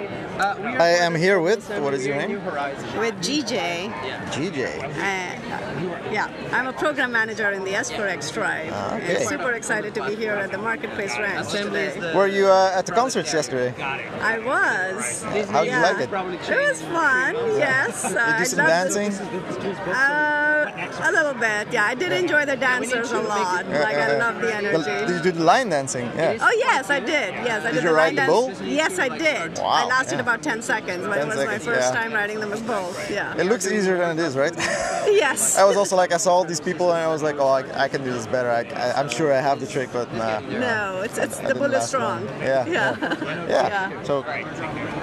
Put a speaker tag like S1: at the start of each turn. S1: Uh, we are
S2: I am here with,
S1: Seven,
S2: what is
S1: we
S2: your
S1: are New
S2: name?
S1: Horizons.
S3: with GJ.
S2: GJ.
S3: Uh, yeah, I'm a program manager in the S4X tribe.
S2: Ah,
S3: and
S2: okay.
S3: super excited to be here at the Marketplace Ranch
S1: Assembly is
S3: today.
S1: the-
S2: Were you uh, at the concerts yesterday?
S3: I was.
S2: How did you like it?
S1: Probably
S3: It was fun, yes. Uh,
S2: Did
S3: I
S2: you do some
S3: loved-
S2: dancing?
S3: Uh, a little bit, yeah. I did enjoy the dancers a lot. Like, I
S2: Uh, uh,
S3: love the
S2: the- Did you
S3: energy.
S2: do the line dancing? Yeah.
S3: Oh, yes, I did. Yes, I did,
S2: Did you ride
S3: line
S2: the
S3: dance.
S2: bull?
S3: Yes, I did.
S2: Wow,
S3: I lasted
S2: yeah.
S3: about 10 seconds, but
S2: 10
S3: it was my
S2: seconds,
S3: first
S2: yeah.
S3: time riding them with bulls, yeah.
S2: It looks easier than it is, right?
S3: Yes.
S2: I was also like, I saw all these people and I was like, oh, I, I can do this better. I, I, am sure I have the trick, but nah.
S3: No, it's, it's
S2: I
S3: the
S2: didn't
S3: bull is
S2: last long.
S3: strong.
S2: Yeah, yeah.
S3: yeah.
S2: Yeah. So